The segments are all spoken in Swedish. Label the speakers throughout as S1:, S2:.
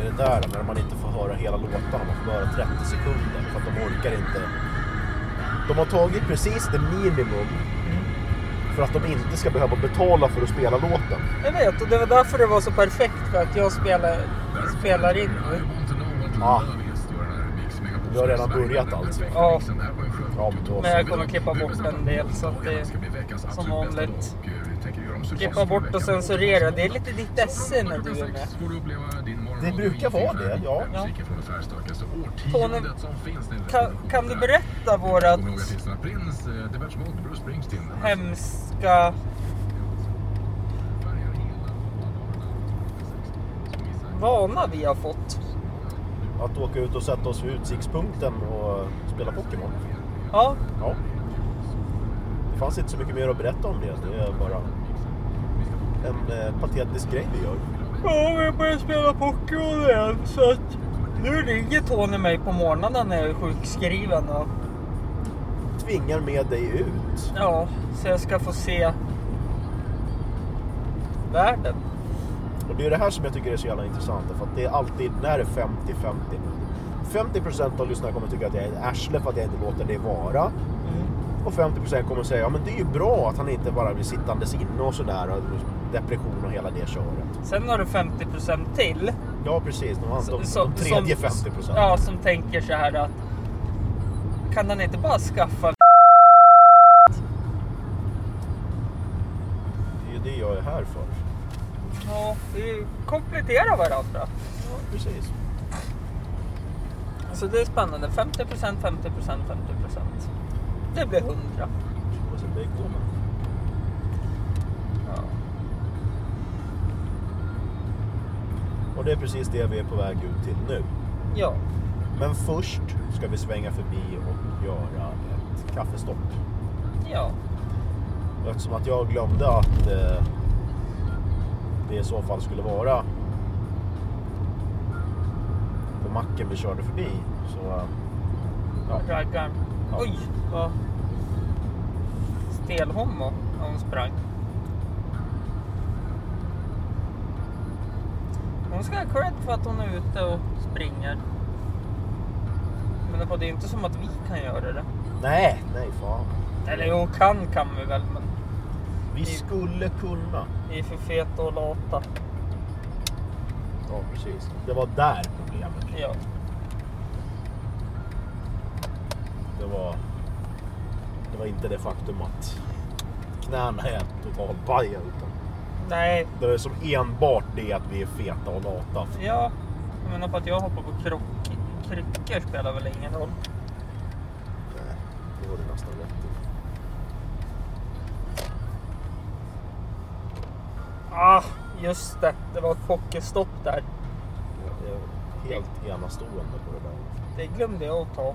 S1: är det där då, när man inte får höra hela låtarna, man får höra 30 sekunder för att de orkar inte. De har tagit precis det minimum för att de inte ska behöva betala för att spela låten.
S2: Jag vet, och det var därför det var så perfekt för att jag spelar, spelar in nu.
S1: Ja. Du Ah. har redan börjat allt.
S2: Ja,
S1: Ja, men då
S2: men jag kommer klippa bort en del så att det är som vanligt. Klippa bort och censurera, det är lite ditt esse när du är med.
S1: Det brukar vara det, ja.
S2: Ja. Tony, kan, kan du berätta vårat hemska... vana vi har fått.
S1: Att åka ut och sätta oss vid utsiktspunkten och spela Pokémon.
S2: Ja,
S1: Ja. Det fanns inte så mycket mer att berätta om det. Det är bara en eh, patetisk grej vi gör.
S2: Ja, vi börjar spela Pokémon igen. Så att nu ringer Tony mig på morgonen när jag är sjukskriven. Och,
S1: Tvingar med dig ut.
S2: ja, så jag ska få se världen.
S1: Och det är det här som jag tycker är så jävla intressant. För att det är alltid, när det är 50-50. 50% av lyssnarna kommer tycka att jag är ett arsle för att jag inte låter det vara.
S2: Mm.
S1: Och 50% kommer säga, ja men det är ju bra att han inte bara blir sittandes inne och sådär. Och depression och hela det köret.
S2: Sen har du 50% till.
S1: Ja precis, de, de, de,
S2: som-
S1: de tredje
S2: som-
S1: 50%.
S2: Ja, som tänker så här att kan han inte bara skaffa
S1: Det är ju det jag är här för.
S2: Ja, vi kompletterar varandra.
S1: Ja, precis.
S2: Så det är spännande. 50 50 50 Det blir 100.
S1: Och sen det går man. Och det är precis det vi är på väg ut till nu.
S2: Ja.
S1: Men först ska vi svänga förbi och göra ett kaffestopp.
S2: Ja.
S1: Och Eftersom att jag glömde att eh, det i så fall skulle vara på macken vi körde förbi. Så eh, ja,
S2: Raggaren.
S1: Ja.
S2: Oj, vad stel homo hon sprang. Hon ska ha cred för att hon är ute och springer. Men det är inte som att vi kan göra det.
S1: nej, nej fan.
S2: Eller jo, kan kan vi väl, men
S1: Vi skulle kunna.
S2: vi är för feta och lata.
S1: Ja, precis. Det var där problemet
S2: Ja.
S1: Det var, det var inte det faktum att knäna är totalbaja utan
S2: Nej,
S1: det är som enbart det att vi är feta och lata.
S2: ja. Jag menar på att jag hoppar på krock. Kryckor spelar väl ingen roll.
S1: Nej, det var du nästan rätt i.
S2: Ah, just det. Det var ett pokerstopp där.
S1: Jag är helt enastående på det där.
S2: Det glömde jag att ta.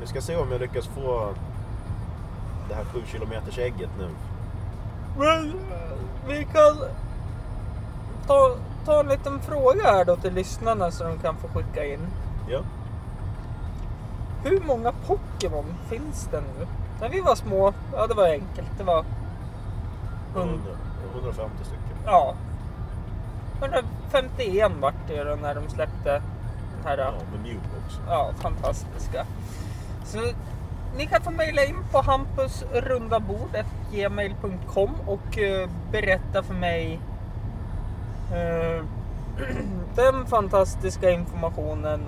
S1: Vi ska se om jag lyckas få det här 7 kilometers ägget nu.
S2: Men eh, vi kan ta, ta en liten fråga här då till lyssnarna så de kan få skicka in.
S1: Ja.
S2: Hur många Pokémon finns det nu? När vi var små, ja det var enkelt. Det var... hund-
S1: 100, 150 stycken.
S2: Ja. 151 vart det då när de släppte den här...
S1: Ja, med Mew också.
S2: ja, fantastiska. Så ni kan få mejla in på hampusrundabord.gmail.com och eh, berätta för mig eh, den fantastiska informationen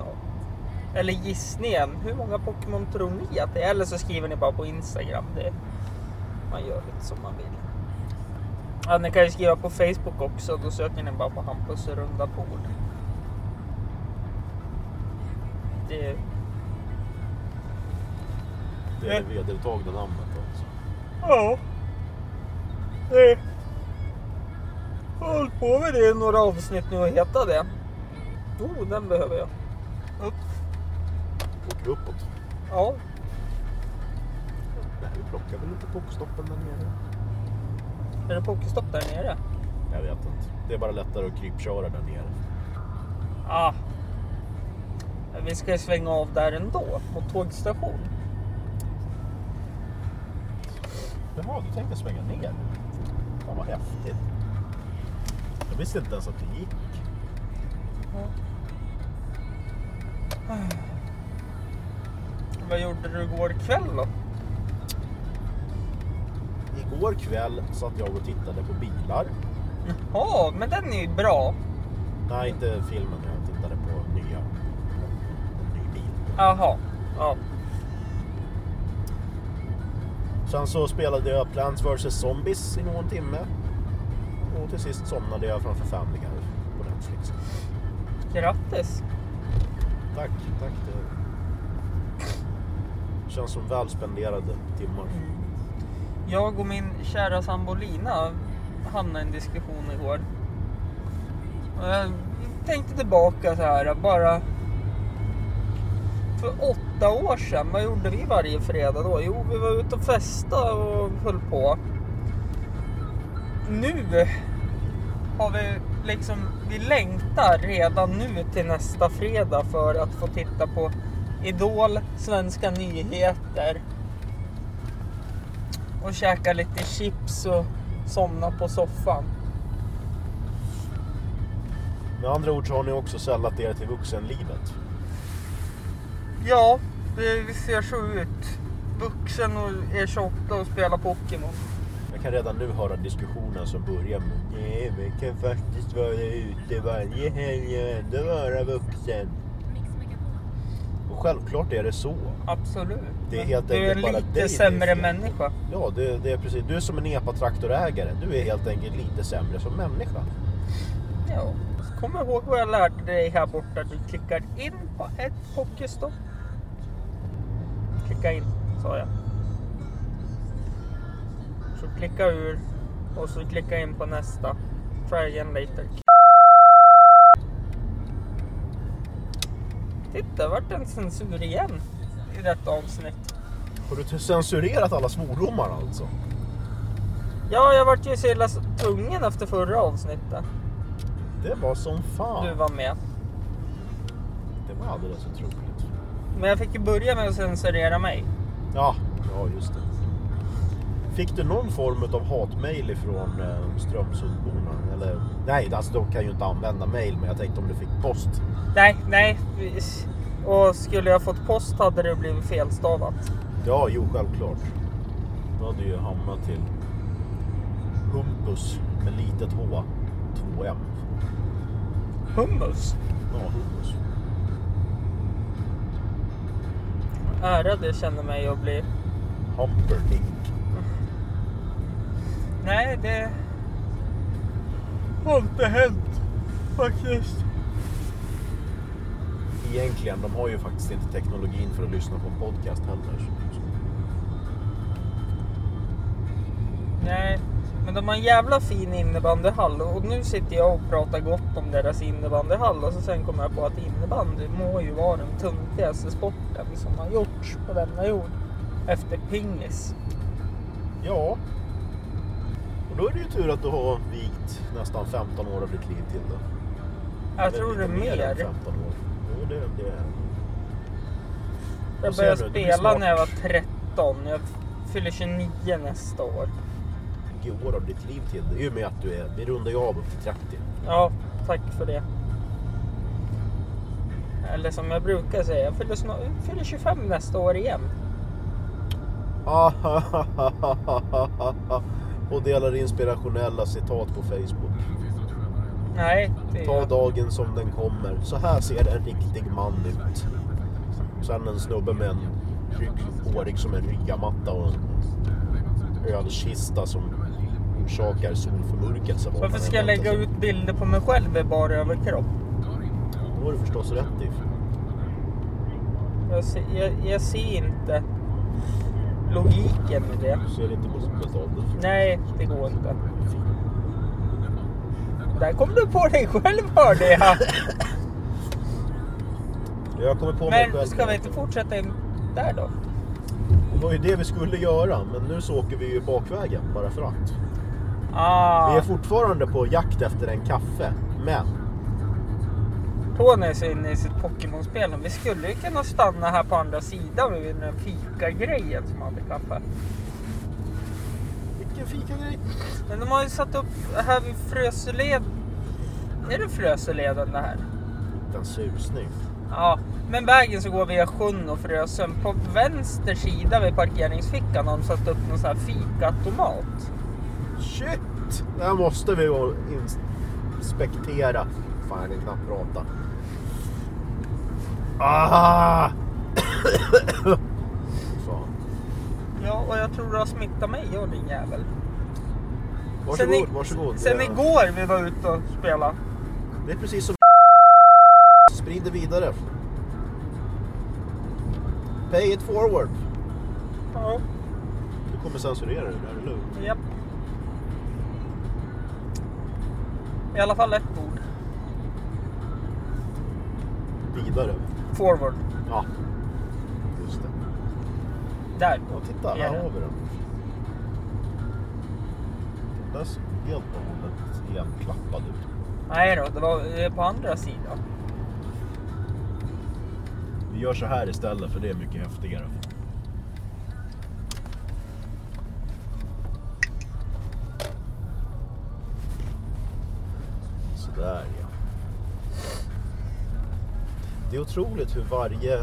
S2: eller gissningen. Hur många Pokémon tror ni att det är? Eller så skriver ni bara på Instagram. Det, man gör lite som man vill. Ja, ni kan ju skriva på Facebook också. Då söker ni bara på Hampus runda bord. Det,
S1: Det är det vedertagna namnet alltså.
S2: Ja. Det... Jag har hållit på med det i några avsnitt nu och heta det. Oh, den behöver jag. Upp.
S1: Åker uppåt.
S2: Ja.
S1: Nej, vi plockar väl inte pokstoppen där nere.
S2: Är det pokerstopp där nere?
S1: Jag vet inte. Det är bara lättare att krypköra där nere.
S2: Ja. Men Vi ska ju svänga av där ändå, mot tågstation.
S1: Jaha, du tänkte svänga ner? Fan vad häftigt. Jag visste inte ens att det gick.
S2: Vad gjorde du igår kväll då?
S1: Igår kväll satt jag och tittade på bilar.
S2: Jaha, men den är ju bra.
S1: Nej, inte filmen. Jag tittade på nya. En ny bil.
S2: Jaha. Ja.
S1: Sen så spelade jag Plants vs Zombies i någon timme. Och till sist somnade jag framför Family Guy på Netflix.
S2: Grattis.
S1: Tack, tack. Det känns som välspenderade timmar.
S2: Mm. Jag och min kära sambo Lina hamnade i en diskussion igår. Och jag tänkte tillbaka så här, bara för åtta år sedan, vad gjorde vi varje fredag då? Jo, vi var ute och festade och höll på. Nu har vi liksom, vi längtar redan nu till nästa fredag för att få titta på Idol, Svenska nyheter och käka lite chips och somna på soffan.
S1: Med andra ord så har ni också sällat er till vuxenlivet.
S2: Ja, det vi ser så ut. Vuxen och är 28 och spelar Pokémon.
S1: Jag kan redan nu höra diskussionen som börjar med Nej, man kan faktiskt vara ute varje helg och ändå vara vuxen. Och självklart är det så.
S2: Absolut.
S1: Det är helt
S2: du är en
S1: enkelt bara dig det
S2: lite
S1: är
S2: sämre
S1: fel.
S2: människa.
S1: Ja, det, det är precis. Du är som en epatraktorägare. Du är helt enkelt lite sämre som människa.
S2: Ja. Kom ihåg vad jag lärde dig här borta. Du klickar in på ett Pokéstopp. Klicka in, sa jag. Så klicka ur och så klicka in på nästa. Try again later. Titta, vart en censur igen i detta avsnitt.
S1: Har du censurerat alla svordomar alltså?
S2: Ja, jag vart ju så illa tvungen efter förra avsnittet.
S1: Det var som fan.
S2: Du var med.
S1: Det var alldeles otroligt.
S2: Men jag fick ju börja med att censurera mig.
S1: Ja, ja just det. Fick du någon form av hatmejl ifrån eh, Strömsundborna? Eller, nej, alltså de kan ju inte använda mejl, men jag tänkte om du fick post.
S2: Nej, nej. Och skulle jag fått post hade det blivit felstavat.
S1: Ja, jo, självklart. Då hade ju hamnat till Humpus med litet H, 2M.
S2: Hummus?
S1: Ja, Humpus.
S2: Ärad jag känner mig att bli.
S1: Humperdick.
S2: Nej, det har inte hänt faktiskt.
S1: Egentligen, de har ju faktiskt inte teknologin för att lyssna på en podcast heller. så-
S2: Nej, men de har en jävla fin innebandyhall och nu sitter jag och pratar gott om deras innebandyhall och så sen kommer jag på att innebandy må ju vara den tuntigaste sporten som har gjorts på denna jord efter pingis.
S1: Ja. Och då är det ju tur att du har vigt nästan 15 år av ditt liv till det.
S2: Jag
S1: Eller
S2: tror det är
S1: lite än
S2: mer.
S1: 15 år. Jo, det, det är
S2: Jag
S1: Vad säger
S2: började
S1: du? Det blir
S2: spela
S1: snart-
S2: när jag var 13. Jag fyller 29 nästa år.
S1: 20 år av ditt liv till det. I och med att du är, vi rundar ju av upp till 30.
S2: Ja, tack för det. Eller som jag brukar säga, jag fyller, snart, jag fyller 25 nästa år igen.
S1: Och delar inspirationella citat på Facebook.
S2: Nej, det
S1: Ta
S2: är
S1: dagen som den kommer. Så här ser en riktig man ut. Sen en snubbe med en rygg- hårig som en ryggamatta och en ölkista som orsakar solförmörkelse. var
S2: Varför
S1: man
S2: ska jag
S1: än
S2: lägga
S1: vänder sig.
S2: ut bilder på mig själv i bara överkropp?
S1: Det har du förstås rätt i.
S2: Jag ser, jag, jag ser inte logiken i det.
S1: Du ser inte behovet av det.
S2: Nej, det går inte. Där kom du på dig själv hörde jag.
S1: Jag kommer på mig
S2: Men
S1: själv.
S2: ska vi inte fortsätta in där då?
S1: Det var ju det vi skulle göra, men nu så åker vi ju bakvägen bara för att.
S2: Ah.
S1: Vi är fortfarande på jakt efter en kaffe, men
S2: Tony är så inne i sitt Pokémon-spel. Vi skulle ju kunna stanna här på andra sidan vid den fika-grejen som hade kaffe.
S1: vilken fikagrej!
S2: Men de har ju satt upp här vid Fröseled. Är det Fröseleden det här?
S1: en susning.
S2: Ja, men vägen så går via sjön och Frösön. På vänster sida vid parkeringsfickan har de satt upp någon sån här fikaautomat.
S1: Shit! Det här måste vi gå och inspektera. Fan, jag kan knappt prata. Ah! Så.
S2: Ja, och jag tror du har smittat mig och din jävel.
S1: Varsågod,
S2: sen i-
S1: varsågod.
S2: Sen
S1: Det-
S2: igår vi var ute och spelade.
S1: Det är precis som Sprid det vidare. Pay it forward.
S2: Ja,
S1: Du kommer censurera det där, eller hur?
S2: japp. I alla fall ett ord.
S1: Vidare.
S2: Forward.
S1: Ja. Just det.
S2: Där.
S1: Ja, titta,
S2: Är
S1: här
S2: det?
S1: har vi den. Den ser helt och hållet igenklappad ut.
S2: Nej då, det var eh, på andra sidan.
S1: Vi gör så här istället för det är mycket häftigare. Sådär ja. Det är otroligt hur varje,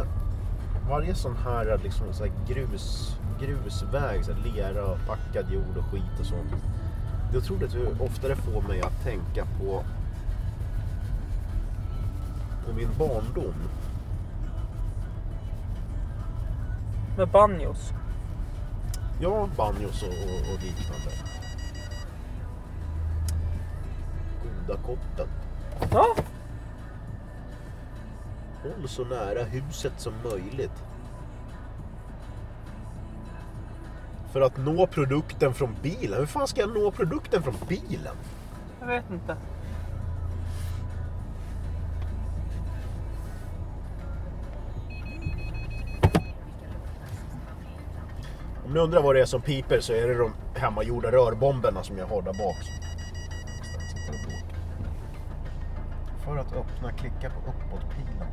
S1: varje sån här, liksom, så här grus, grusväg, så här lera, och packad jord och skit och sånt. Det är otroligt hur ofta det får mig att tänka på, på min barndom.
S2: Med banjos.
S1: Ja, banjos och, och, och liknande. Goda kotten.
S2: Ja,
S1: Håll så nära huset som möjligt. För att nå produkten från bilen. Hur fan ska jag nå produkten från bilen?
S2: jag vet inte.
S1: Om ni undrar vad det är som piper så är det de hemmagjorda rörbomberna som jag har där bak. För att öppna, klicka på uppåtpilen.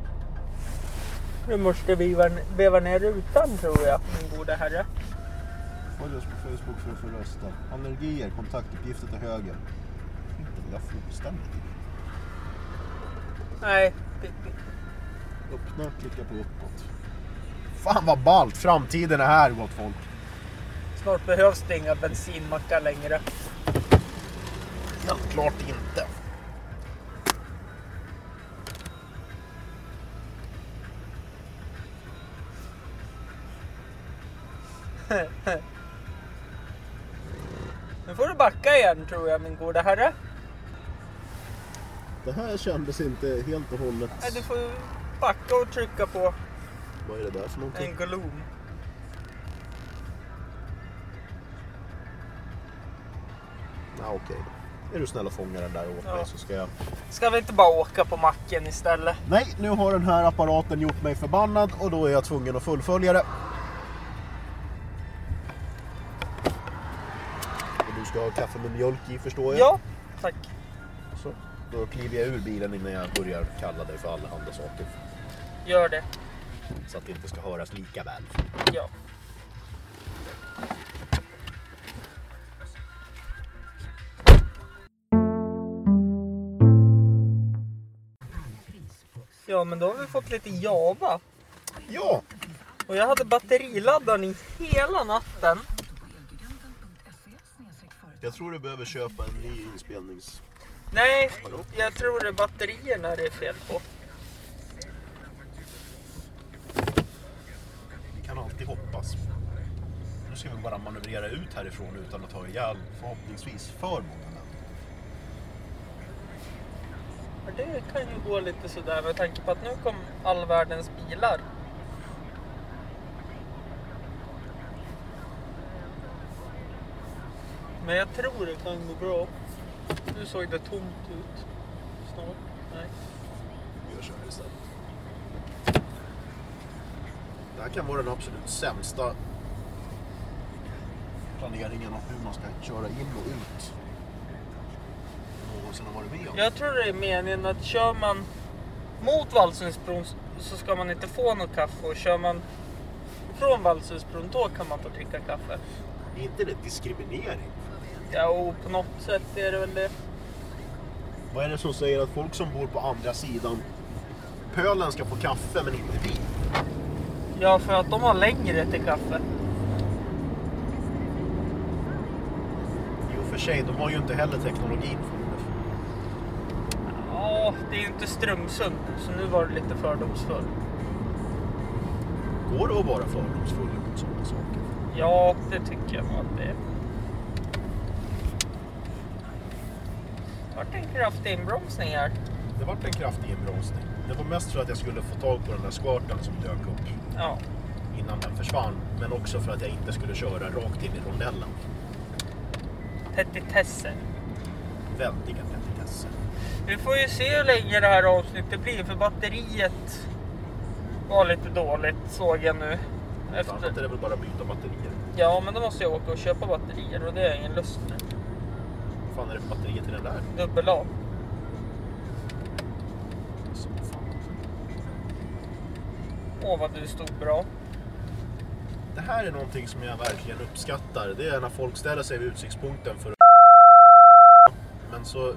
S2: Nu måste vi veva- veva ner rutan tror jag, min gode herre.
S1: Följ oss på Facebook för att få rösta. Allergier, kontaktuppgifter till höger. Inte vill jag fullständigt.
S2: Nej, det- det-
S1: Öppna, klicka på uppåt. Fan vad ballt! Framtiden är här gott folk.
S2: snart behövs det inga bensinmackar längre.
S1: Helt klart inte.
S2: Nu får du backa igen tror jag, min gode herre.
S1: Det här kändes inte helt och hållet...
S2: Nej, du får ju backa och trycka på
S1: Vad är det där för någonting?
S2: en gloom.
S1: Ja, okej. Är du snäll och fånga den där åt
S2: Ja.
S1: mig så ska jag...
S2: Ska vi inte bara åka på macken istället?
S1: Nej, nu har den här apparaten gjort mig förbannad och då är jag tvungen att fullfölja det. Och du ska ha kaffe med mjölk i förstår jag?
S2: Ja, tack.
S1: Så, då kliver jag ur bilen innan jag börjar kalla dig för allehanda saker.
S2: Gör det.
S1: Så att det inte ska höras lika väl.
S2: Ja. Ja, men då har vi fått lite Java.
S1: Ja,
S2: Och jag hade batteriladdaren i hela natten.
S1: jag tror du behöver köpa en ny inspelnings...
S2: Nej, jag tror det är batterierna det är fel på.
S1: Vi kan alltid hoppas. Nu ska vi bara manövrera ut härifrån utan att ta ihjäl förhoppningsvis för många människor.
S2: Ja, Det kan ju gå lite sådär med tanke på att nu kom all världens bilar. Men jag tror det kan gå bra. Nu såg det tomt ut. Snart. Nej.
S1: Vi gör så här istället. Det här kan vara den absolut sämsta planeringen av hur man ska köra in och ut. Någonsin har varit med om.
S2: Jag tror det är meningen att kör man mot Vallsundsbron så ska man inte få något kaffe och kör man från Vallsundsbron då kan man få dricka kaffe.
S1: Är inte det diskriminering?
S2: Ja, och på något sätt är det väl det.
S1: Vad är det som säger att folk som bor på andra sidan pölen ska få kaffe men inte vi.
S2: Ja, för att de har längre till kaffe.
S1: Jo för sig, de har ju inte heller teknologin för det.
S2: Ja, det är ju inte Strömsund, så nu var det lite fördomsfull.
S1: Går det att vara fördomsfull mot sådana saker?
S2: Ja, det tycker jag nog att det är. Vart en kraftig inbromsning här.
S1: Det vart en kraftig inbromsning. Det var mest för att jag skulle få tag på den där skvarten som dök upp
S2: Ja.
S1: innan den försvann. Men också för att jag inte skulle köra rakt in i rondellen.
S2: Petitesser.
S1: Väldiga petitesser.
S2: Vi får ju se hur länge det här avsnittet blir för batteriet var lite dåligt såg jag nu.
S1: Efter... Annat är
S2: Efter...
S1: det väl bara att byta batterier.
S2: Ja men då måste jag åka och köpa batterier och det har jag ingen lust med.
S1: Vad fan är det för batterier till den där?
S2: Dubbel A.
S1: Alltså, vad fan.
S2: Åh vad du stod bra.
S1: Det här är någonting som jag verkligen uppskattar. Det är när folk ställer sig vid utsiktspunkten för att... Men så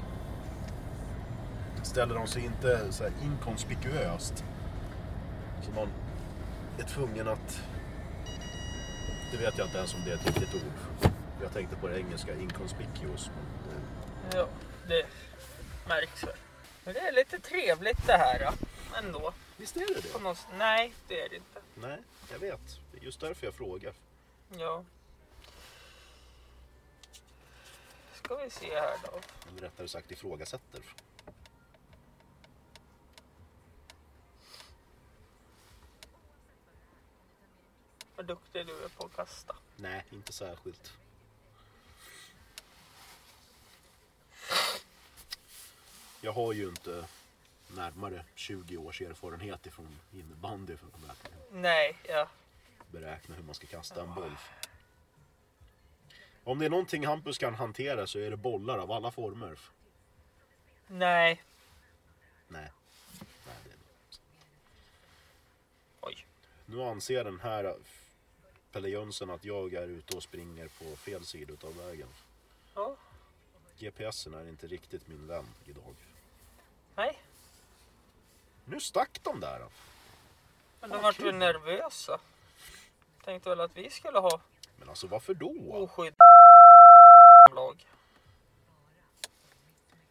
S1: ställer de sig inte så här inkonspicuöst. Så man är tvungen att... Det vet jag inte ens om det är ett riktigt ord. Jag tänkte på det engelska, inconspicuous. men eh, det-
S2: Ja, det märks väl. Men det är lite trevligt det här ja. ändå.
S1: Visst är det
S2: På
S1: det?
S2: något... s- Nej det är det inte.
S1: Nej, jag vet. Det är just därför jag frågar.
S2: Ja. Ska vi se här då.
S1: Eller rättare sagt ifrågasätter.
S2: Vad duktig du är på att kasta.
S1: Nej, inte särskilt. Jag har ju inte närmare 20 års erfarenhet ifrån innebandy för att verkligen
S2: Nej, ja.
S1: beräkna hur man ska kasta en boll. Om det är någonting Hampus kan hantera så är det bollar av alla former.
S2: Nej.
S1: Nej. Nej det är det.
S2: Oj.
S1: Nu anser den här Pelle Jönsson att jag är ute och springer på fel sida av vägen.
S2: Ja.
S1: GPSen är inte riktigt min vän idag.
S2: Nej.
S1: Nu stack de där. Då.
S2: Men då vart vi nervösa. Tänkte väl att vi skulle ha
S1: Men alltså varför då?
S2: oskydd lag.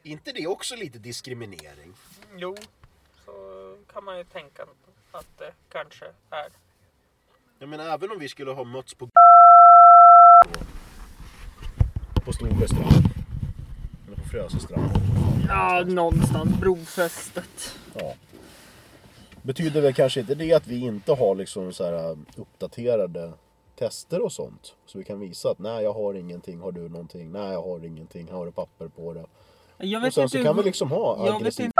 S1: inte det också lite diskriminering?
S2: Jo, så kan man ju tänka att det kanske är.
S1: Jag menar även om vi skulle ha mötts på på Storsjö strand. Eller på Frösö strand.
S2: Ja, någonstans. Brofästet.
S1: Ja. Betyder väl kanske inte det att vi inte har liksom så här uppdaterade tester och sånt? Så vi kan visa att nej jag har ingenting, har du någonting? Nej jag har ingenting, här har du papper på det.
S2: Jag
S1: Och sen så kan vi liksom ha
S2: jag vet
S1: aggressiv...
S2: inte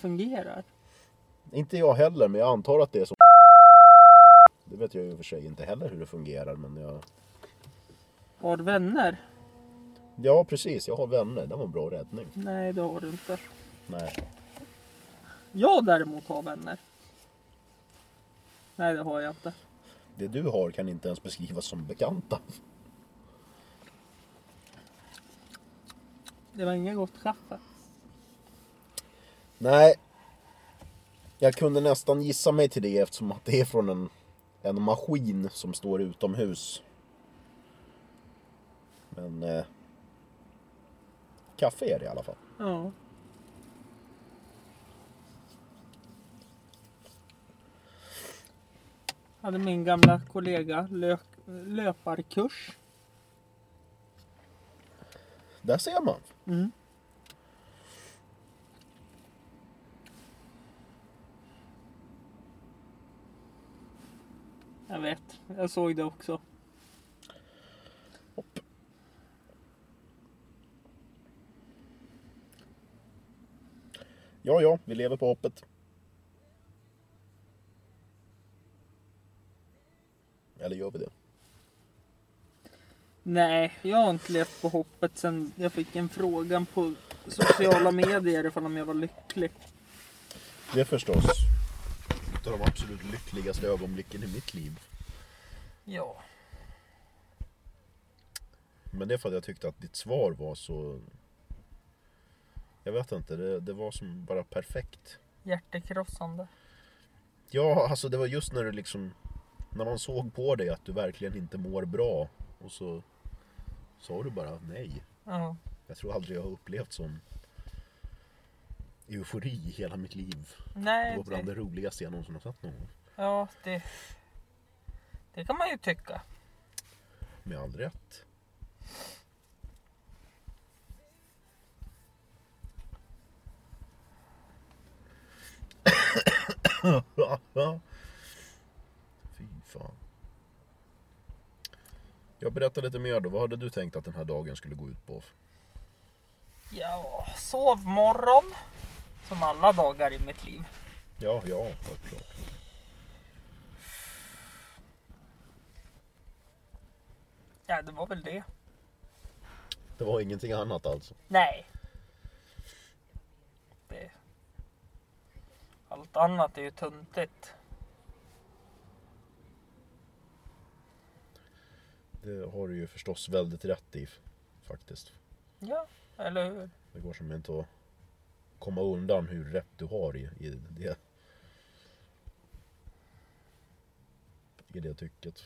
S2: fungerar.
S1: Inte jag heller, men jag antar att det är så. Det vet jag ju i och för sig inte heller hur det fungerar, men jag...
S2: Har vänner?
S1: Ja, precis. Jag har vänner. Det var en bra räddning.
S2: Nej, det har du inte.
S1: Nej.
S2: Jag däremot har vänner. Nej, det har jag inte.
S1: Det du har kan inte ens beskrivas som bekanta.
S2: Det var inget gott kaffe.
S1: Nej. Jag kunde nästan gissa mig till det eftersom att det är från en, en maskin som står utomhus. Men... Eh, kaffe är det i alla fall.
S2: Ja. Hade min gamla kollega lö- löparkurs.
S1: Där ser man.
S2: Mm. Jag vet, jag såg det också.
S1: Hopp. Ja, ja, vi lever på hoppet. Eller gör vi det?
S2: Nej, jag har inte levt på hoppet sen jag fick en fråga på sociala medier ifall om jag var lycklig.
S1: Det är förstås ett av de absolut lyckligaste ögonblicken i mitt liv.
S2: Ja.
S1: Men det är för att jag tyckte att ditt svar var så... Jag vet inte, det, det var som bara perfekt.
S2: Hjärtekrossande.
S1: Ja, alltså det var just när du liksom... När man såg på dig att du verkligen inte mår bra och så sa du bara nej.
S2: Ja.
S1: Jag tror aldrig jag har upplevt sån eufori i hela mitt liv. Det
S2: Nej,
S1: var bland
S2: det,
S1: det roligaste jag någonsin har sett någon gång.
S2: ja, det, det kan man ju tycka.
S1: Med all rätt. Fy fan. Jag berättar lite mer då. Vad hade du tänkt att den här dagen skulle gå ut på?
S2: Ja, sovmorgon. Som alla dagar i mitt liv.
S1: Ja, ja, självklart.
S2: Ja, det var väl det.
S1: Det var ingenting annat alltså.
S2: Nej. Det... Allt annat är ju tuntigt.
S1: Det har du ju förstås väldigt rätt i faktiskt.
S2: Ja, eller hur?
S1: Det går som inte att komma undan hur rätt du har i, i det. I det tycket.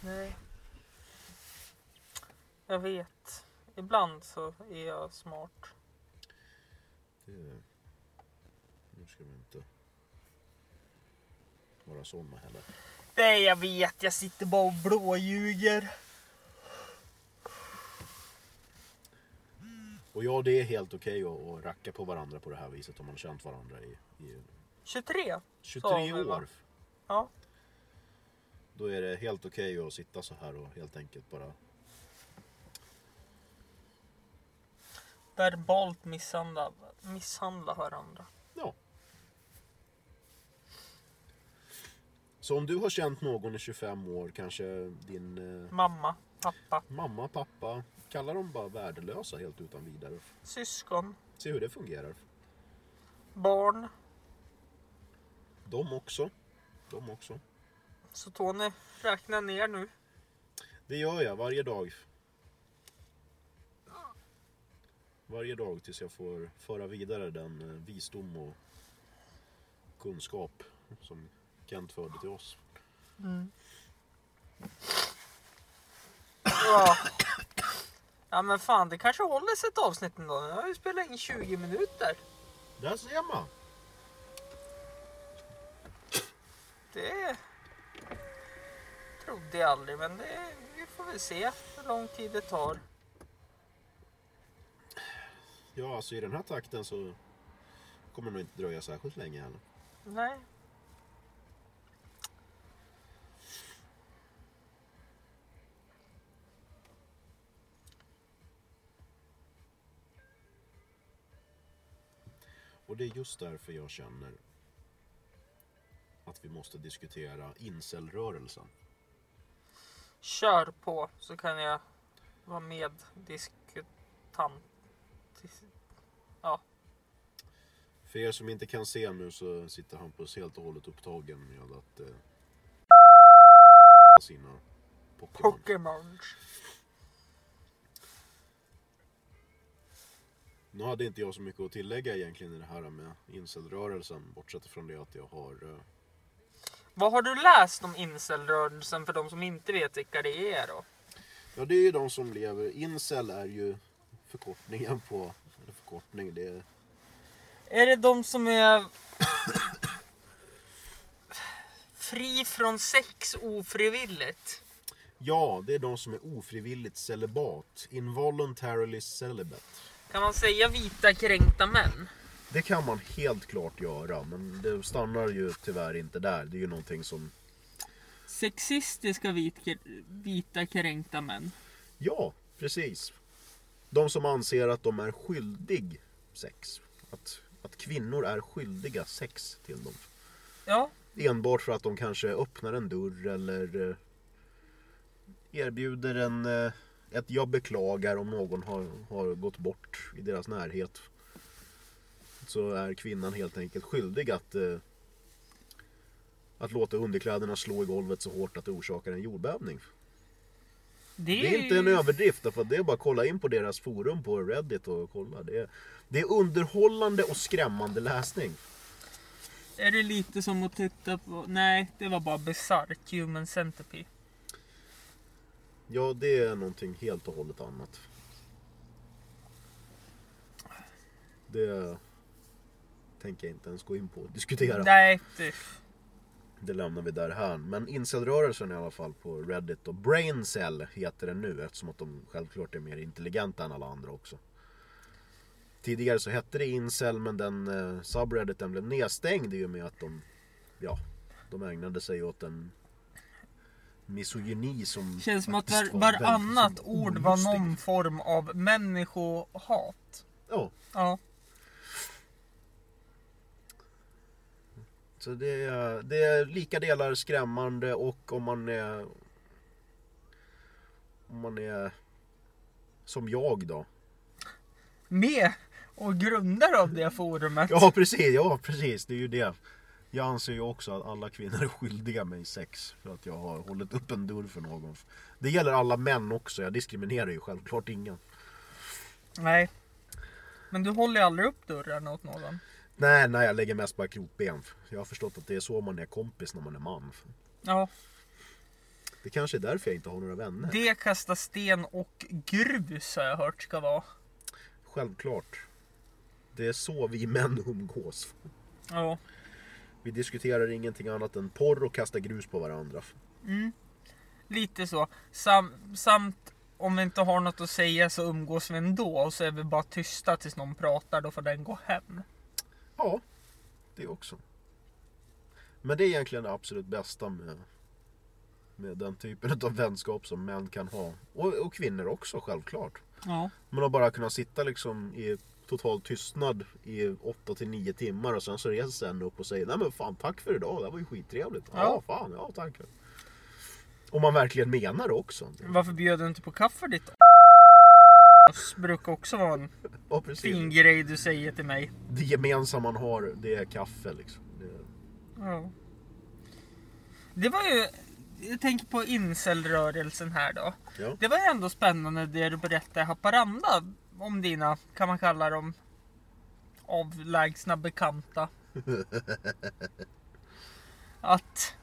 S2: Nej. Jag vet. Ibland så är jag smart.
S1: Det... Nu ska vi inte vara såna heller.
S2: Nej, jag vet. Jag sitter bara och blåljuger.
S1: Och ja, det är helt okej att, att racka på varandra på det här viset om man har känt varandra i, i
S2: 23.
S1: 23
S2: Så har vi
S1: år.
S2: varit. Ja.
S1: Då är det helt okej att sitta så här och helt enkelt bara...
S2: Verbalt misshandla, misshandla varandra.
S1: Ja. Så om du har känt någon i 25 år, kanske din... eh,
S2: Mamma, pappa,
S1: mamma, pappa, kalla dem bara värdelösa helt utan vidare.
S2: syskon,
S1: Se hur det fungerar.
S2: barn.
S1: De också. De också.
S2: Så Tony, räkna ner nu.
S1: Det gör jag varje dag. Varje dag tills jag får föra vidare den eh, visdom och kunskap som Kent förde till oss.
S2: Ja. ja men fan det kanske håller sig ett avsnitt ändå. Nu har vi spelat in 20 minuter.
S1: Där ser man!
S2: Det trodde jag aldrig men det, vi får väl se hur lång tid det tar.
S1: Ja, alltså i den här takten så kommer det nog inte dröja särskilt länge heller.
S2: Nej.
S1: Och det är just därför jag känner att vi måste diskutera incelrörelsen.
S2: Kör på så kan jag vara med diskutant. dis- Ja,
S1: För er som inte kan se nu så sitter Hampus helt och hållet upptagen med att eh, sina Pokémon.
S2: Pokémons.
S1: Nu hade inte jag så mycket att tillägga egentligen i det här med incelrörelsen bortsett från det att jag har eh,
S2: Vad har du läst om incelrörelsen för de som inte vet vilka det är då?
S1: Ja det är ju de som lever, incel är ju förkortningen på, eller förkortning det är
S2: Är det de som är fri från sex ofrivilligt?
S1: Ja, det är de som är ofrivilligt celibat. Involuntarily celibate.
S2: Kan man säga vita kränkta män?
S1: Det kan man helt klart göra, men det stannar ju tyvärr inte där. Det är ju någonting som...
S2: Sexistiska vita kränkta män.
S1: Ja, precis. De som anser att de är skyldig sex. Att, att kvinnor är skyldiga sex till dem.
S2: Ja,
S1: Enbart för att de kanske öppnar en dörr eller eh, erbjuder en, eh, ett jag beklagar om någon har, har gått bort i deras närhet. Så är kvinnan helt enkelt skyldig att, eh, att låta underkläderna slå i golvet så hårt att det orsakar en jordbävning. Det är inte en överdrift, därför att det är bara att kolla in på deras forum på Reddit och kolla. Det är, det är underhållande och skrämmande läsning.
S2: Är det lite som att titta på... Nej, det var bara bisarrt. Human Centipede.
S1: Ja, det är någonting helt och hållet annat. Det tänker jag inte ens gå in på och diskutera.
S2: Nej, det...
S1: Det lämnar vi där här. Men incel-rörelsen i alla fall på Reddit och Braincell heter den nu eftersom att de självklart är mer intelligenta än alla andra också. Tidigare så hette det incel men den eh, subredditen blev nedstängd i och med att de, ja, de ägnade sig åt en misogyni som
S2: känns som att
S1: faktiskt
S2: var,
S1: var väldigt
S2: varannat
S1: liksom
S2: ord var
S1: olustig.
S2: någon form av människohat.
S1: Ja,
S2: Ja.
S1: så det är, det är lika delar skrämmande och om man är... Om man är som jag då.
S2: Med och grundare av det forumet.
S1: Ja precis, ja precis, det är ju det. Jag anser ju också att alla kvinnor är skyldiga mig sex för att jag har hållit upp en dörr för någon. Det gäller alla män också, jag diskriminerar ju självklart ingen.
S2: Nej. Men du håller ju aldrig upp dörren åt någon.
S1: Nej, nej, jag lägger mest bara krokben. Jag har förstått att det är så man är kompis när man är man.
S2: Ja,
S1: Det kanske är därför jag inte har några vänner.
S2: det kasta sten och grus har jag hört ska vara.
S1: Självklart. Det är så vi män umgås.
S2: Ja.
S1: Vi diskuterar ingenting annat än porr och kastar grus på varandra.
S2: Mm. Lite så. Sam, samt om vi inte har något att säga så umgås vi ändå och så är vi bara tysta tills någon pratar, då får den gå hem.
S1: Ja, det också. Men det är egentligen det absolut bästa med, med den typen av vänskap som män kan ha. Och, och kvinnor också självklart.
S2: Ja.
S1: Men att bara kunna sitta liksom i total tystnad i 8 till 9 timmar och sen så reser sig en upp och säger Nej men fan tack för idag, det här var ju skittrevligt. Ja,
S2: Ja.
S1: fan, ja tack. Om man verkligen menar det också.
S2: Varför bjöd du inte på kaffe ditt Det brukar också vara en
S1: Ja, precis.
S2: fin grej du säger till mig.
S1: Det gemensamma man har, det är kaffe liksom. Det...
S2: Ja. Det var ju, jag tänker på incelrörelsen här då.
S1: Ja.
S2: Det var ju ändå spännande det du berättade i Haparanda om dina, kan man kalla dem, avlägsna bekanta. Att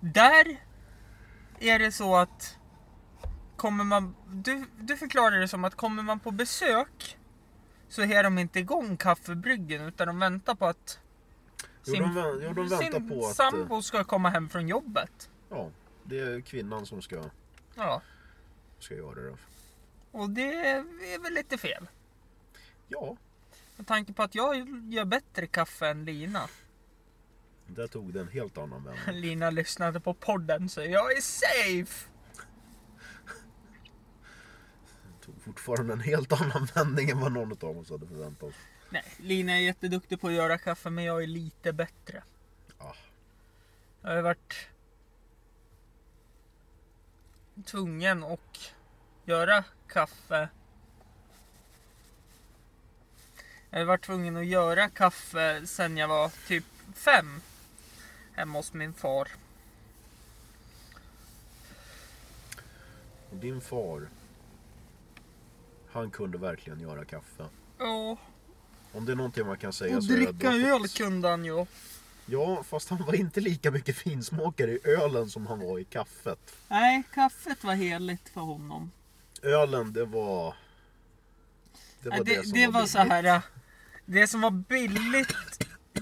S2: där är det så att kommer man, du, du förklarar det som att kommer man på besök så är de inte igång kaffebryggen utan de väntar på att
S1: Jo, de, vä- jo, de väntar
S2: sin
S1: på att... eh,
S2: sambo ska komma hem från jobbet.
S1: Ja, det är kvinnan som ska,
S2: Ja.
S1: ska göra det.
S2: Och det är väl lite fel.
S1: Ja,
S2: Med tanke på att jag gör bättre kaffe än Lina.
S1: där tog det en helt annan vändning.
S2: Lina lyssnade på podden så jag är safe!
S1: Det tog fortfarande en helt annan vändning än vad någon av oss hade förväntat oss.
S2: Nej, Lina är jätteduktig på att göra kaffe men jag är lite bättre.
S1: Ah,
S2: Jag har ju varit tvungen att göra kaffe. Jag har ju varit tvungen att göra kaffe sen jag var typ fem. Hemma hos min far.
S1: och din far, han kunde verkligen göra kaffe.
S2: Ja,
S1: Om det är någonting man kan säga
S2: och
S1: så är det att du
S2: dricka
S1: har
S2: öl
S1: fått-
S2: kunde han ju.
S1: Ja, fast han var inte lika mycket finsmakare i ölen som han var i kaffet.
S2: Nej, kaffet var heligt för honom.
S1: Ölen, det var... Det
S2: Nej, det,
S1: som
S2: det var så
S1: billigt.
S2: här. äh, Det som var billigt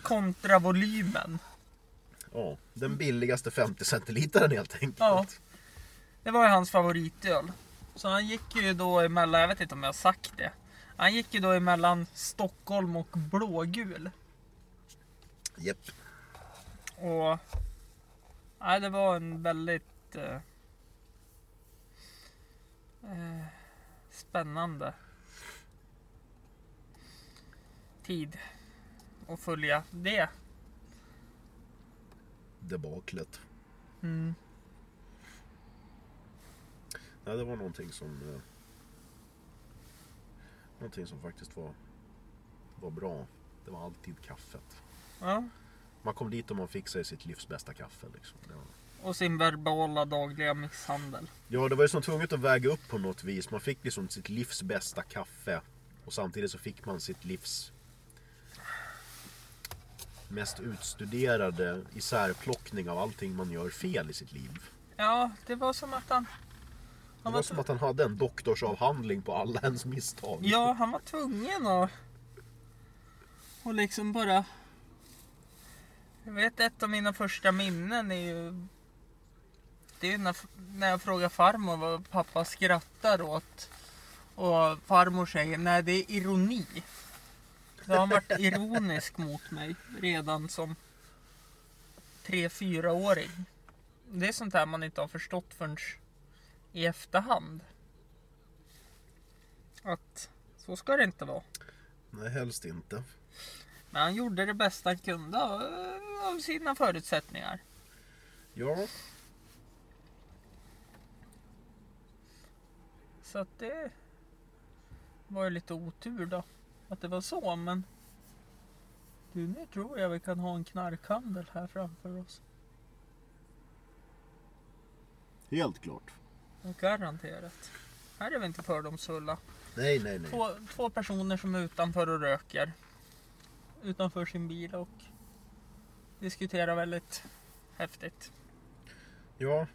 S2: kontra volymen.
S1: Ja, den billigaste 50 centilitaren helt enkelt.
S2: Ja. Det var ju hans favoritöl. Så han gick ju då emellan, jag vet inte om jag har sagt det. Han gick ju då emellan Stockholm och blågul.
S1: Japp.
S2: Och... Nej, det var en väldigt... Eh, eh, spännande tid att följa det.
S1: debaklet.
S2: Mm.
S1: Nej, det var någonting som... Eh, någonting som faktiskt var, var bra. Det var alltid kaffet.
S2: Ja.
S1: Man kom dit och man fick sig sitt livs bästa kaffe. Liksom. Det var,
S2: Och sin verbala dagliga misshandel.
S1: Ja, det var ju som tvunget att väga upp på något vis. Man fick liksom sitt livs bästa kaffe. Och samtidigt så fick man sitt livs mest utstuderade isärplockning av allting man gör fel i sitt liv.
S2: Ja, det var som att han...
S1: Det
S2: han
S1: var
S2: var
S1: som
S2: tv-
S1: att han hade en doktorsavhandling på alla ens misstag.
S2: ja, han var tvungen att... Och liksom bara... Jag vet ett av mina första minnen är ju... Det är ju när, när jag frågar farmor vad pappa skrattar åt. Och farmor säger, nej det är ironi. Då har han varit ironisk mot mig redan som 3-4-åring. Det är sånt här man inte har förstått förrän i efterhand. Att så ska det inte vara.
S1: Nej, helst inte.
S2: Men han gjorde det bästa han kunde av- av sina förutsättningar.
S1: Ja,
S2: Så att det var ju lite otur då. Att det var så men. Du nu tror jag vi kan ha en knarkhandel här framför oss.
S1: helt klart.
S2: Garanterat. Här är vi inte fördomsfulla.
S1: Nej, nej, nej.
S2: Två, två personer som är utanför och röker. Utanför sin bil och diskuterar väldigt häftigt.
S1: Ja.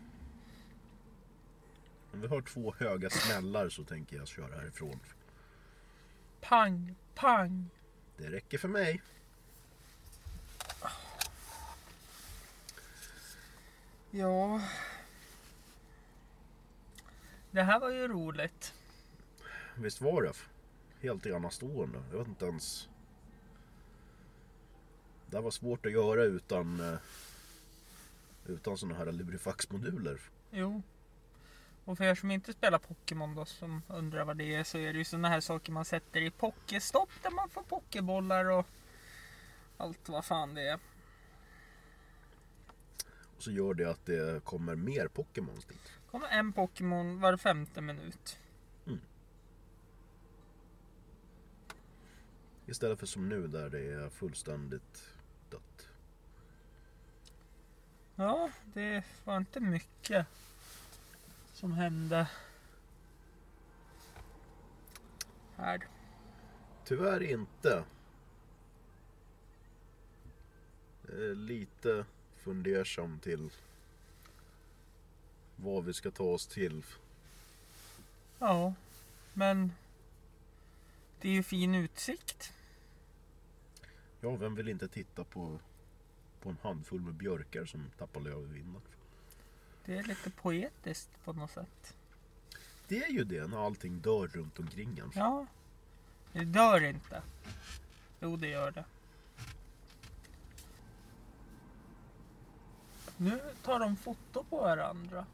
S1: Om vi hör två höga smällar så tänker jag köra härifrån.
S2: Pang, pang.
S1: Det räcker för mig.
S2: Ja. Det här var ju roligt.
S1: Visst var det? Helt enastående. Jag vet inte ens... Det här var svårt att göra utan... eh, Utan sådana här lurifaxmoduler.
S2: Jo. Och för er som inte spelar Pokémon då som undrar vad det är så är det ju såna här saker man sätter i Pokéstopp där man får Pokébollar och allt vad fan det är.
S1: Och så gör det att det kommer mer Pokémons dit.
S2: kommer en Pokémon var femte minut.
S1: Istället för som nu där det är fullständigt dött.
S2: Ja, det var inte mycket som hände. Här.
S1: Tyvärr inte. Eh, Lite fundersam till vad vi ska ta oss till.
S2: Ja, men det är ju fin utsikt.
S1: Ja, vem vill inte titta på, på en handfull med björkar som tappar löv i vinden?
S2: Det är lite poetiskt på något sätt.
S1: Det är ju det när allting dör runt omkring en.
S2: Ja, det dör inte. Jo, det gör det. Nu tar de foto på varandra.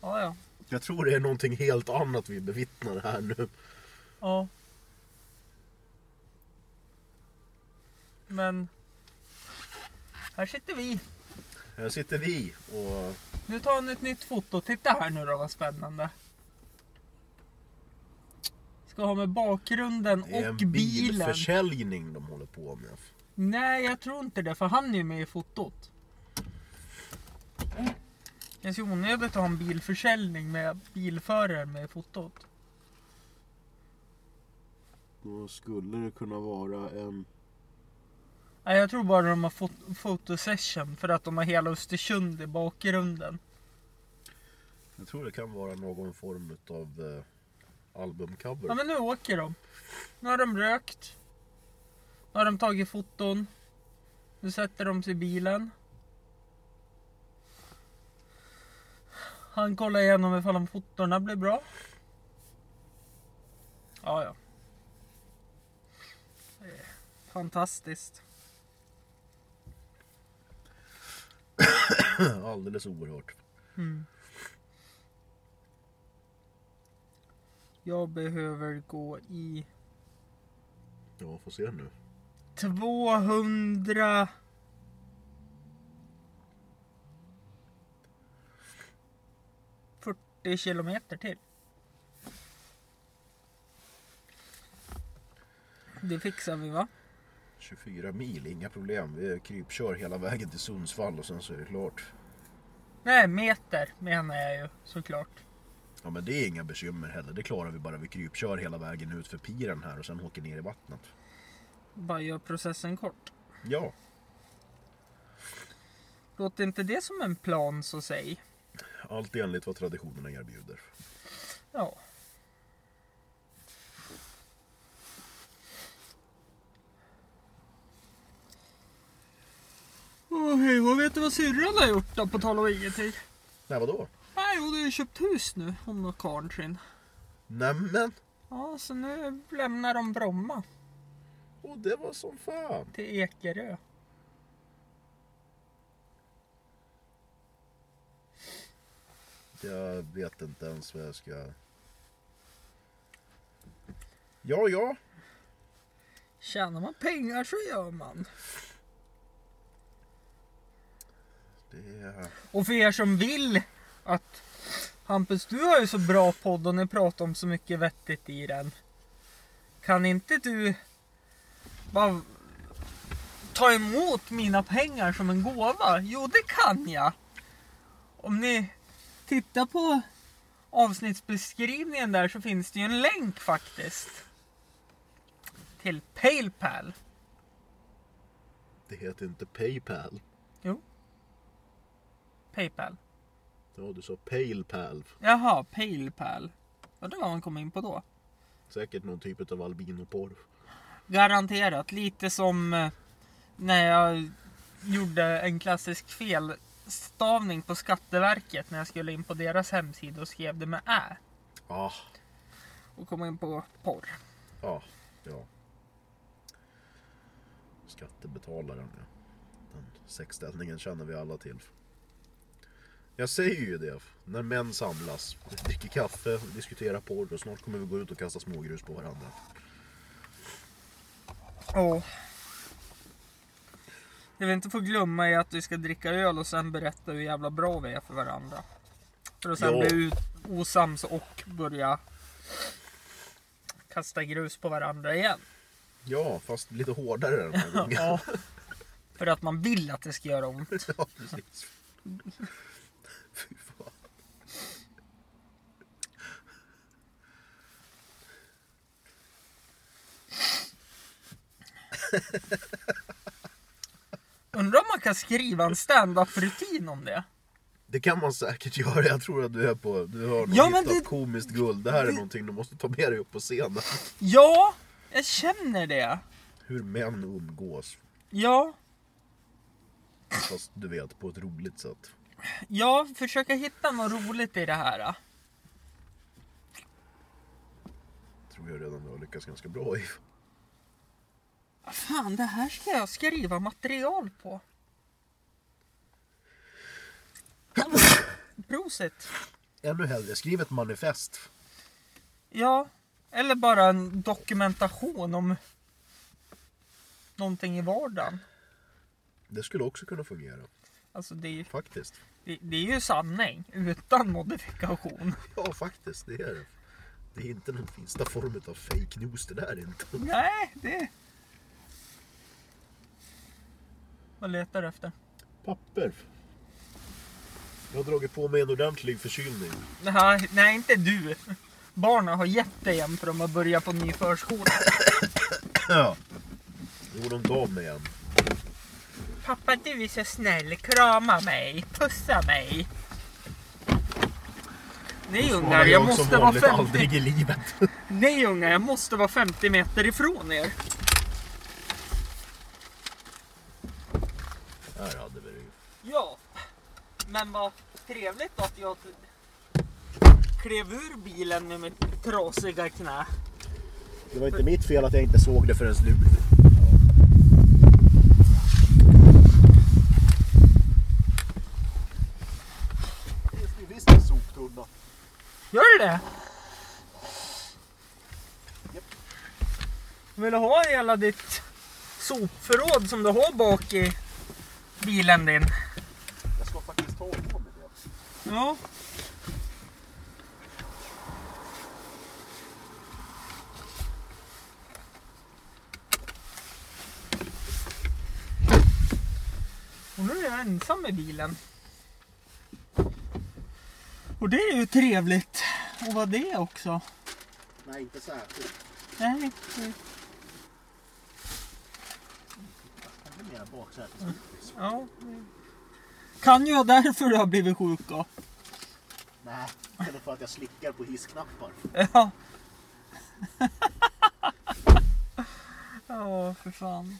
S2: Ja, ja.
S1: Jag tror det är någonting helt annat vi bevittnar här nu.
S2: Ja. Men här sitter vi.
S1: Här sitter vi och
S2: Nu tar han ett nytt foto. Titta här nu då vad spännande. Ska ha med bakgrunden
S1: det är
S2: och
S1: en
S2: bilen.
S1: bilförsäljning de håller på med.
S2: Nej jag tror inte det för han är ju med i fotot. Det känns ju onödigt att ha en bilförsäljning med bilförare med i fotot.
S1: Då skulle det kunna vara en
S2: Nej jag tror bara de har fot- fotosession för att de har hela Östersund i bakgrunden.
S1: Jag tror det kan vara någon form av eh, albumcover.
S2: Ja men nu åker de. Nu har de rökt. Nu har de tagit foton. Nu sätter de sig i bilen. Han kollar igenom ifall om fotorna blir bra. Ja, ja. Det är Fantastiskt.
S1: Alldeles oerhört.
S2: Jag behöver gå i
S1: Ja, får se nu.
S2: 200... ...40 kilometer till. Det fixar vi va?
S1: 24 mil, inga problem. Vi krypkör hela vägen till Sundsvall och sen så är det klart.
S2: Nej, meter menar jag ju såklart.
S1: Ja men det är inga bekymmer heller, det klarar vi bara. Vi krypkör hela vägen ut för piren här och sen åker ner i vattnet.
S2: Bara gör processen kort.
S1: Ja,
S2: Låter inte det som en plan så säg?
S1: allt enligt vad traditionerna erbjuder.
S2: Ja. Åh, hej, vad vet du vad syrran har gjort då på tal om ingenting?
S1: Nej vadå?
S2: Nej, hon har ju köpt hus nu, hon och karln sin.
S1: Nämen!
S2: Ja, så nu lämnar de Bromma
S1: Och det var som fan!
S2: till Ekerö.
S1: Jag vet inte ens vad jag ska... Ja, ja.
S2: Tjänar man pengar så gör man.
S1: Det är...
S2: Och för er som vill att Hampus, du har ju så bra podd och ni pratar om så mycket vettigt i den. Kan inte du bara ta emot mina pengar som en gåva? Jo, det kan jag. Om ni tittar på avsnittsbeskrivningen där så finns det ju en länk faktiskt. Till Paypal.
S1: Det heter inte Paypal.
S2: Jo. Paypal.
S1: Ja, du sa Paypal.
S2: Jaha, Paypal. Undrar vad man kom in på då.
S1: Säkert någon typ av albinoporr.
S2: Garanterat. Lite som eh, när jag gjorde en klassisk felstavning på Skatteverket när jag skulle in på deras hemsida och skrev det med ä
S1: Ah,
S2: och kom in på porr.
S1: ah, ja. Skattebetalaren, ja. Den sexställningen känner vi alla till. Jag säger ju det, när män samlas, dricker kaffe, diskuterar porr och snart kommer vi gå ut och kasta smågrus på varandra.
S2: Oh. Det vi inte får glömma är att vi ska dricka öl och sen berätta hur jävla bra vi är för varandra. För att sen
S1: Ja.
S2: bli ut- osams och börja kasta grus på varandra igen.
S1: Ja, fast lite hårdare den här gången.
S2: Ja. För att man vill att det ska göra ont.
S1: Ja, precis. Fy fan.
S2: Undrar om man kan skriva en stand-up-rutin om det?
S1: Det kan man säkert göra. Jag tror att du är på... Du har nog
S2: Ja, men
S1: hittat
S2: det-
S1: komiskt guld. Det här är
S2: det-
S1: någonting du måste ta med dig upp på scenen.
S2: Ja, jag känner det.
S1: Hur män umgås.
S2: Ja,
S1: Fast du vet, på ett roligt sätt.
S2: jag försöker hitta något roligt i det här.
S1: Tror jag redan du har lyckats ganska bra i.
S2: Fan, det här ska jag skriva material på. Prosit.
S1: Ännu hellre, skriv ett manifest.
S2: Ja, eller bara en dokumentation om någonting i vardagen.
S1: Det skulle också kunna fungera.
S2: Alltså det är, ju-
S1: Faktiskt.
S2: det, det är ju sanning utan modifikation.
S1: Ja, faktiskt. Det är det. Det är inte den minsta form av fake news det där är inte.
S2: Nej, det... Vad letar du efter?
S1: Papper. Jag har dragit på mig en ordentlig förkylning.
S2: Nej, nej, inte du. Barnen har gett dig en för de har börjat på ny förskola.
S1: Ja. Jo, de gav mig en.
S2: Pappa, du är så snäll. Krama mig. Pussa mig. Nej ungar, jag måste vara 50...
S1: aldrig i livet.
S2: Nej ungar, jag måste vara 50 meter ifrån er.
S1: Här hade vi det ju.
S2: Ja, men vad trevligt att jag klev ur bilen med mitt trasiga knä.
S1: Det var inte mitt fel att jag inte såg det förrän nu. Finns det visst en soptunna?
S2: Gör det?
S1: Japp.
S2: Vill du ha hela ditt sopförråd som du har bak i bilen din?
S1: Jag ska faktiskt ta på mig det.
S2: Ja. jag ensam i bilen. Och det är ju trevligt att vara det också.
S1: Nej, inte särskilt.
S2: Nej, det-
S1: Det är mera baksätesgodis.
S2: ja. det- Kan ju vara därför du har blivit sjuk då.
S1: Nej, eller för att jag slickar på hissknappar.
S2: Ja. Ja, för fan.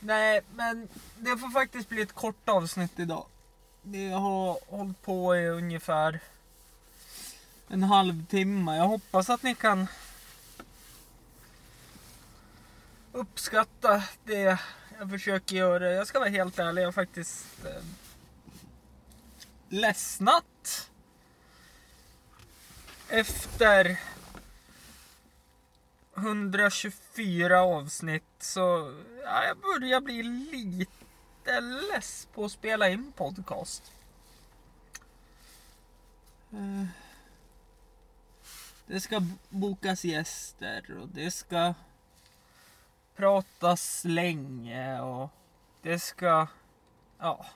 S2: Nej, men det får faktiskt bli ett kort avsnitt idag. Det har hållit på i ungefär en halvtimme. Jag hoppas att ni kan uppskatta det jag försöker göra. Jag ska vara helt ärlig, jag har faktiskt eh, ledsnat efter 124 avsnitt så ja, jag börjar bli lite less på att spela in podcast. Eh, Det ska b- bokas gäster och det ska pratas länge och det ska... Ja.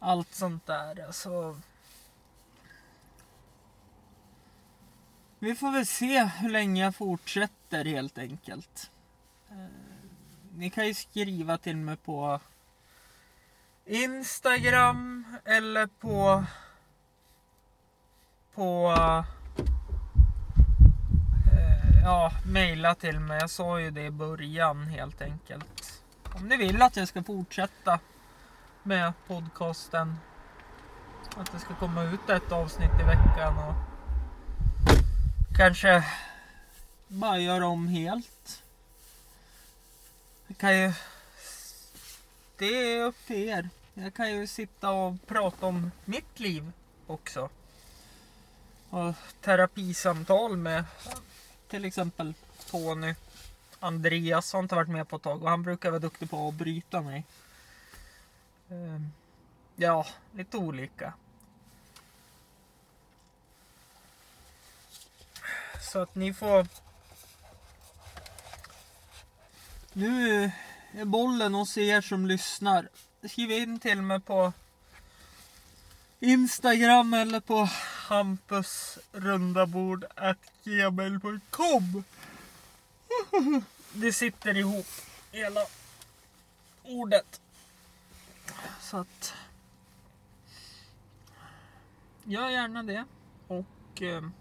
S2: Allt sånt där. Alltså, Vi får väl se hur länge jag fortsätter helt enkelt. Eh, Ni kan ju skriva till mig på Instagram eller på på eh, ja, mejla till mig. Jag sa ju det i början helt enkelt. Om ni vill att jag ska fortsätta med podcasten. Att det ska komma ut ett avsnitt i veckan och Kanske bara göra om helt. Jag kan ju... Det är upp till er. Jag kan ju sitta och prata om mitt liv också. Och terapisamtal med till exempel Tony. Andreas har inte varit med på ett tag och han brukar vara duktig på att bryta mig. Ehm, Ja, lite olika. Så att ni får... Nu är bollen hos er som lyssnar. Skriv in till mig på Instagram eller på hampusrundabord.gmail.com Det sitter ihop hela ordet. Så att... Gör gärna det. Och... ehm,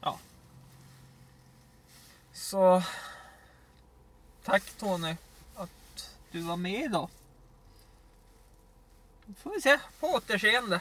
S2: Ja. Så tack Tony att du var med idag. Då får vi se på återseende.